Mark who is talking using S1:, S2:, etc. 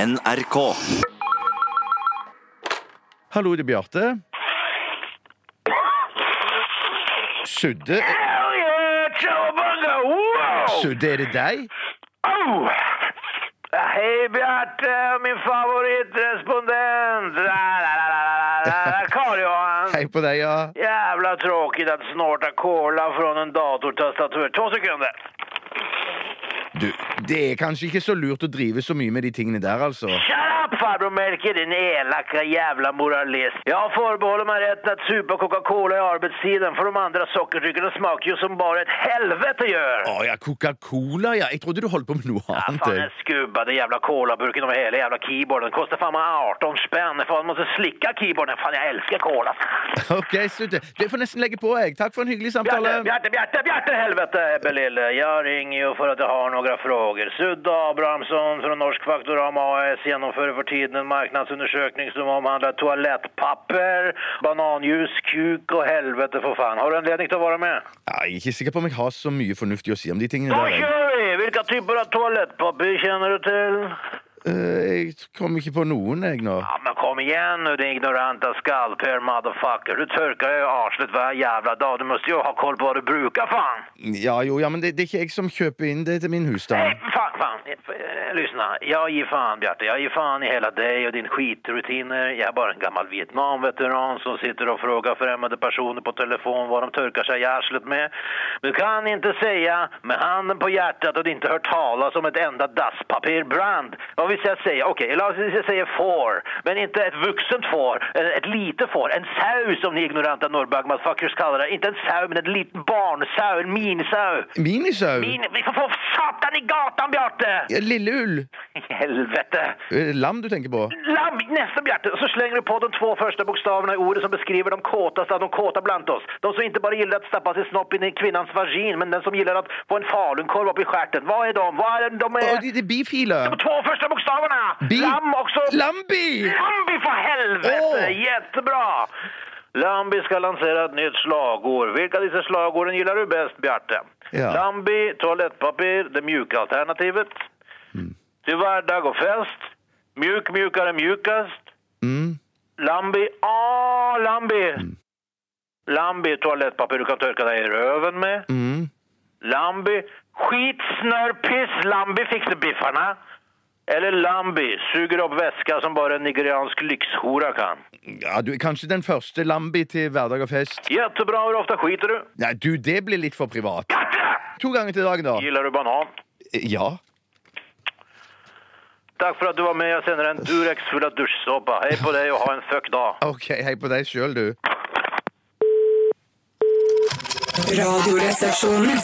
S1: NRK.
S2: Hallo, det er Bjarte. Sudde
S3: Hell yeah, Cowabunga! Wow!
S2: Sudde, er det deg?
S3: Oh! Hej Bjarte, min favoritrespondent! La, la, la, la, la, la, Carl-Johan!
S2: Hei på deg, ja.
S3: Jävla tråkigt att snorta cola från en datortastatur. Två sekunder.
S2: Du, det er kanskje ikke så lurt å drive så mye med de tingene der, altså.
S3: Shut up farbror Melker, din elaka jävla moralist. Jag förbehåller mig rätten att supa Coca-Cola i arbetstiden för de andra sockerdryckerna smakar ju som bara ett helvete gör.
S2: Å ja, Coca-Cola, ja. Jeg trodde du holdt på med noe
S3: Ja,
S2: annet.
S3: fan den skubbade jävla colaburken över hela jävla keyboarden. Kostar fan bara 18 spänn. Fan måste slicka keyboarden. Fan jag älskar cola.
S2: Ok, Sudde. Du får nesten legge på, jeg. Takk for en hyggelig
S3: Bjarte,
S2: samtale.
S3: Bjarte, Bjarte, Bjarte, helvete Ebbe lille. Jag ringer ju för att jag har några frågor. Sudde Abrahamsson från Norsk Faktoram AS genomförde för tiden en marknadsundersökning som omhandlar toalettpapper, bananljus, kuk og helvete för fan. Har du anledning till att vara med?
S2: Ja, jeg er ikke sikker på om jeg har så mye fornuftig å si om de tingene
S3: Då
S2: der. Jeg,
S3: kör vi! Vilka typer av toalettpapper känner du till?
S2: Eh, jeg kom ikke på noen, jeg, nå.
S3: Ja, men kom igen nu din ignoranta skallpär motherfucker. Du törkar ju arslet varje jävla dag. Du måste ju ha koll på vad du brukar fan.
S2: Ja jo, ja, men det, det er ikke jeg som kjøper inn det til min husstand.
S3: Nej, fan, fan. Eh, Lyssna, jag ger fan Bjarte. Jag ger fan i hela dig och din skitrutiner. Jag är bara en gammal Vietnamveteran som sitter och frågar främmande personer på telefon vad de törkar sig i arslet med. Du kan inte säga med handen på hjärtat att du inte hört talas om ett enda dasspapperbrand. Vad vill jag säga? Okej, eller alltså, jag säger får. Men inte ett vuxent får, eller ett litet får. En sau som ni ignoranta norrbagmatfuckers kallar det. Inte en sau, men en liten barnsau, en minsau.
S2: Minisau?
S3: Min, vi får få satan i gatan, Bjarte!
S2: Ja, lille ull?
S3: Helvete!
S2: Er det lam du tenker på?
S3: Lamm, nästa Bjarte! Och så slänger du på de två första bokstäverna i ordet som beskriver de kåtaste av de kåta bland oss. De som inte bara gillar att stappa sin snopp in i kvinnans vagin, men den som gillar att få en falunkorv upp i stjärten. Vad är de? Vad är de? De
S2: Å,
S3: är...
S2: det, det er bifile.
S3: De två första bokstäverna!
S2: Bi-
S3: Lamm också...
S2: Lambi!
S3: Lambi för helvete!
S2: Åh!
S3: Jättebra! Lambi ska lansera ett nytt slagord. Vilka av dessa slagorden gillar du bäst, Bjarte?
S2: Ja.
S3: Lambi, toalettpapper, det mjuka alternativet.
S2: Mm.
S3: Till vardag och fest. Mjuk, mjukare, mjukast.
S2: Mm.
S3: Lambi, ah, Lambi! Lambi, toalettpapper du kan torka dig i röven med.
S2: Mm.
S3: Lambi, skit, snör, piss, Lambi fixar biffarna. Eller Lambi, suger upp väska som bara en nigeriansk lyxhora kan.
S2: Ja, du er kanskje den første Lambi til hverdag og fest.
S3: Jättebra, hur ofta skiter du?
S2: Nei, du, det blir litt for privat.
S3: Katte!
S2: To ganger til dagen, da.
S3: Gillar du banan?
S2: Ja.
S3: Tack för att du var med, jag sänder en Durex full av duschsåpa. Hej på dig och ha en fuck dag.
S2: OK, hei på deg sjøl, du.
S4: Radioresepsjonen.